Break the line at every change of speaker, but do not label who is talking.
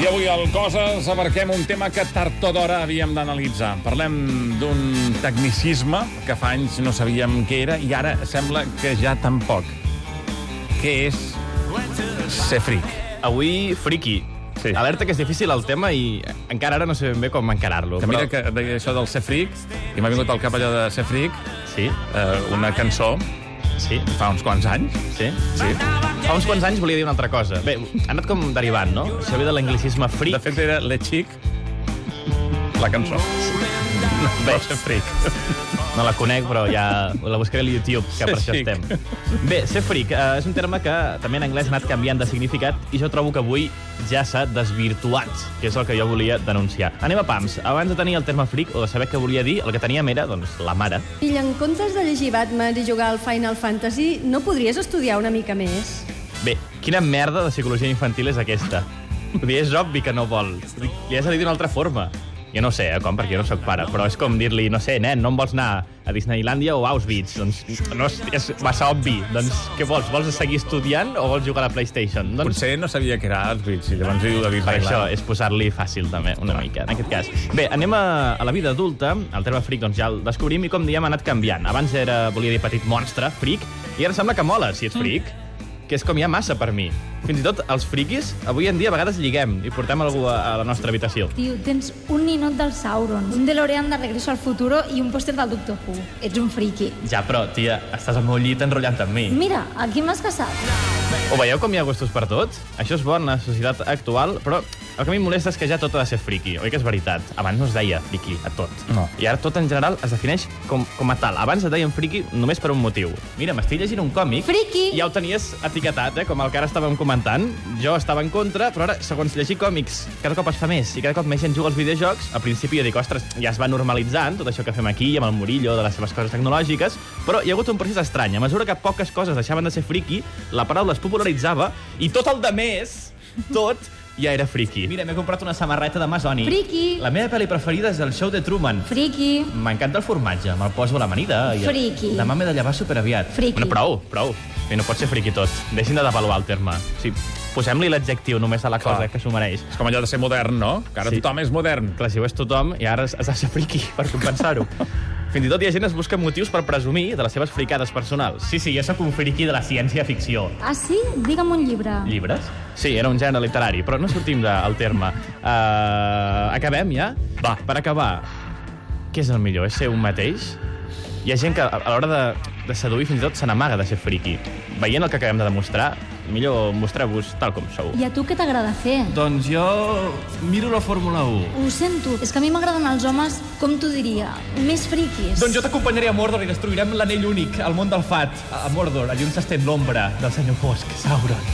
I avui al Coses abarquem un tema que tard o d'hora havíem d'analitzar. Parlem d'un tecnicisme que fa anys no sabíem què era i ara sembla que ja tampoc. Què és ser fric?
Avui, friki.
Sí.
Sí. Alerta que és difícil el tema i encara ara no sé ben bé com encarar-lo.
Que mira que deia això del ser fric i m'ha vingut al cap allò de ser fric,
Sí,
eh, una cançó
sí,
fa uns quants anys.
sí.
Sí.
Fa uns quants anys volia dir una altra cosa. Bé, ha anat com derivant, no? Això ve de l'anglicisme
De
freak.
fet, era Le Chic, la cançó.
Bé,
Ser fric.
no la conec, però ja la buscaré a YouTube, que per
Ser
això
freak.
estem. Bé, ser freak eh, és un terme que també en anglès ha anat canviant de significat i jo trobo que avui ja s'ha desvirtuat, que és el que jo volia denunciar. Anem a pams. Abans de tenir el terme freak o de saber què volia dir, el que teníem era, doncs, la mare.
Fill, en comptes de llegir Batman i jugar al Final Fantasy, no podries estudiar una mica més?
Bé, quina merda de psicologia infantil és aquesta? Vull dir, és obvi que no vol. Vull dir, Li has de dir d'una altra forma. Jo no sé eh, com, perquè jo no sóc pare, però és com dir-li, no sé, nen, no em vols anar a Disneylandia o a Auschwitz? Doncs no és, és massa obvi. Doncs què vols? Vols seguir estudiant o vols jugar a la PlayStation? Doncs
Potser no sabia que era Auschwitz i llavors hi diu de
per això eh.
Disneyland.
és posar-li fàcil, també, una mica, en aquest cas. Bé, anem a, a la vida adulta. El terme fric doncs, ja el descobrim i, com diem, ha anat canviant. Abans era, volia dir petit monstre, fric, i ara sembla que mola, si ets fric, que és com hi ha massa per mi. Fins i tot els friquis, avui en dia a vegades lliguem i portem algú a, a la nostra habitació.
Tio, tens un ninot del Sauron, un DeLorean de Regreso al Futuro i un pòster del Doctor Who. Ets un friki.
Ja, però, tia, estàs al meu llit enrotllant amb mi.
Mira, aquí m'has casat.
Ho veieu com hi ha gustos per tot? Això és bo en la societat actual, però el que a mi em molesta és que ja tot ha de ser friki, oi que és veritat? Abans no es deia friki a tot.
No.
I ara tot en general es defineix com, com a tal. Abans et deien friki només per un motiu. Mira, m'estic llegint un còmic...
Friki!
Ja ho tenies etiquetat, eh? com el que ara estàvem comentant. Jo estava en contra, però ara, segons llegir còmics, cada cop es fa més i cada cop més gent juga als videojocs. Al principi jo dic, ostres, ja es va normalitzant tot això que fem aquí amb el Murillo, de les seves coses tecnològiques, però hi ha hagut un procés estrany. A mesura que poques coses deixaven de ser friki, la paraula es popularitzava i tot el de més, tot, ja era friki. Mira, m'he comprat una samarreta de Masoni.
Friki.
La meva pel·li preferida és el show de Truman.
Friki.
M'encanta el formatge, me'l poso a l'amanida. i-
Friki.
Demà m'he de llevar superaviat.
Friki.
Bueno, prou, prou. Bé, no pot ser friki tot. Deixin de devaluar el terme. Sí, Posem-li l'adjectiu només a la
Clar.
cosa que s'ho mereix.
És com allò de ser modern, no? Que ara
Sí.
tothom és modern.
Clar, si ho és tothom, i ara has de ser friki per compensar-ho. Fins i tot hi ha gent que es busca motius per presumir de les seves fricades personals. Sí, sí, jo sóc un friki de la ciència-ficció.
Ah, sí? Digue'm un llibre.
Llibres? Sí, era un gènere literari, però no sortim del terme. Uh, acabem ja? Va, per acabar, què és el millor? És ser un mateix? Hi ha gent que a a l'hora de, de seduir fins i tot se n'amaga de ser friki. Veient el que acabem de demostrar, millor mostreu-vos tal com sou.
I a tu què t'agrada fer?
Doncs jo miro la Fórmula 1.
Ho sento, és que a mi m'agraden els homes, com t'ho diria, més friquis.
Doncs jo t'acompanyaré a Mordor i destruirem l'anell únic, el món del fat. A a Mordor, allà on s'estén l'ombra del senyor Fosc, Sauron.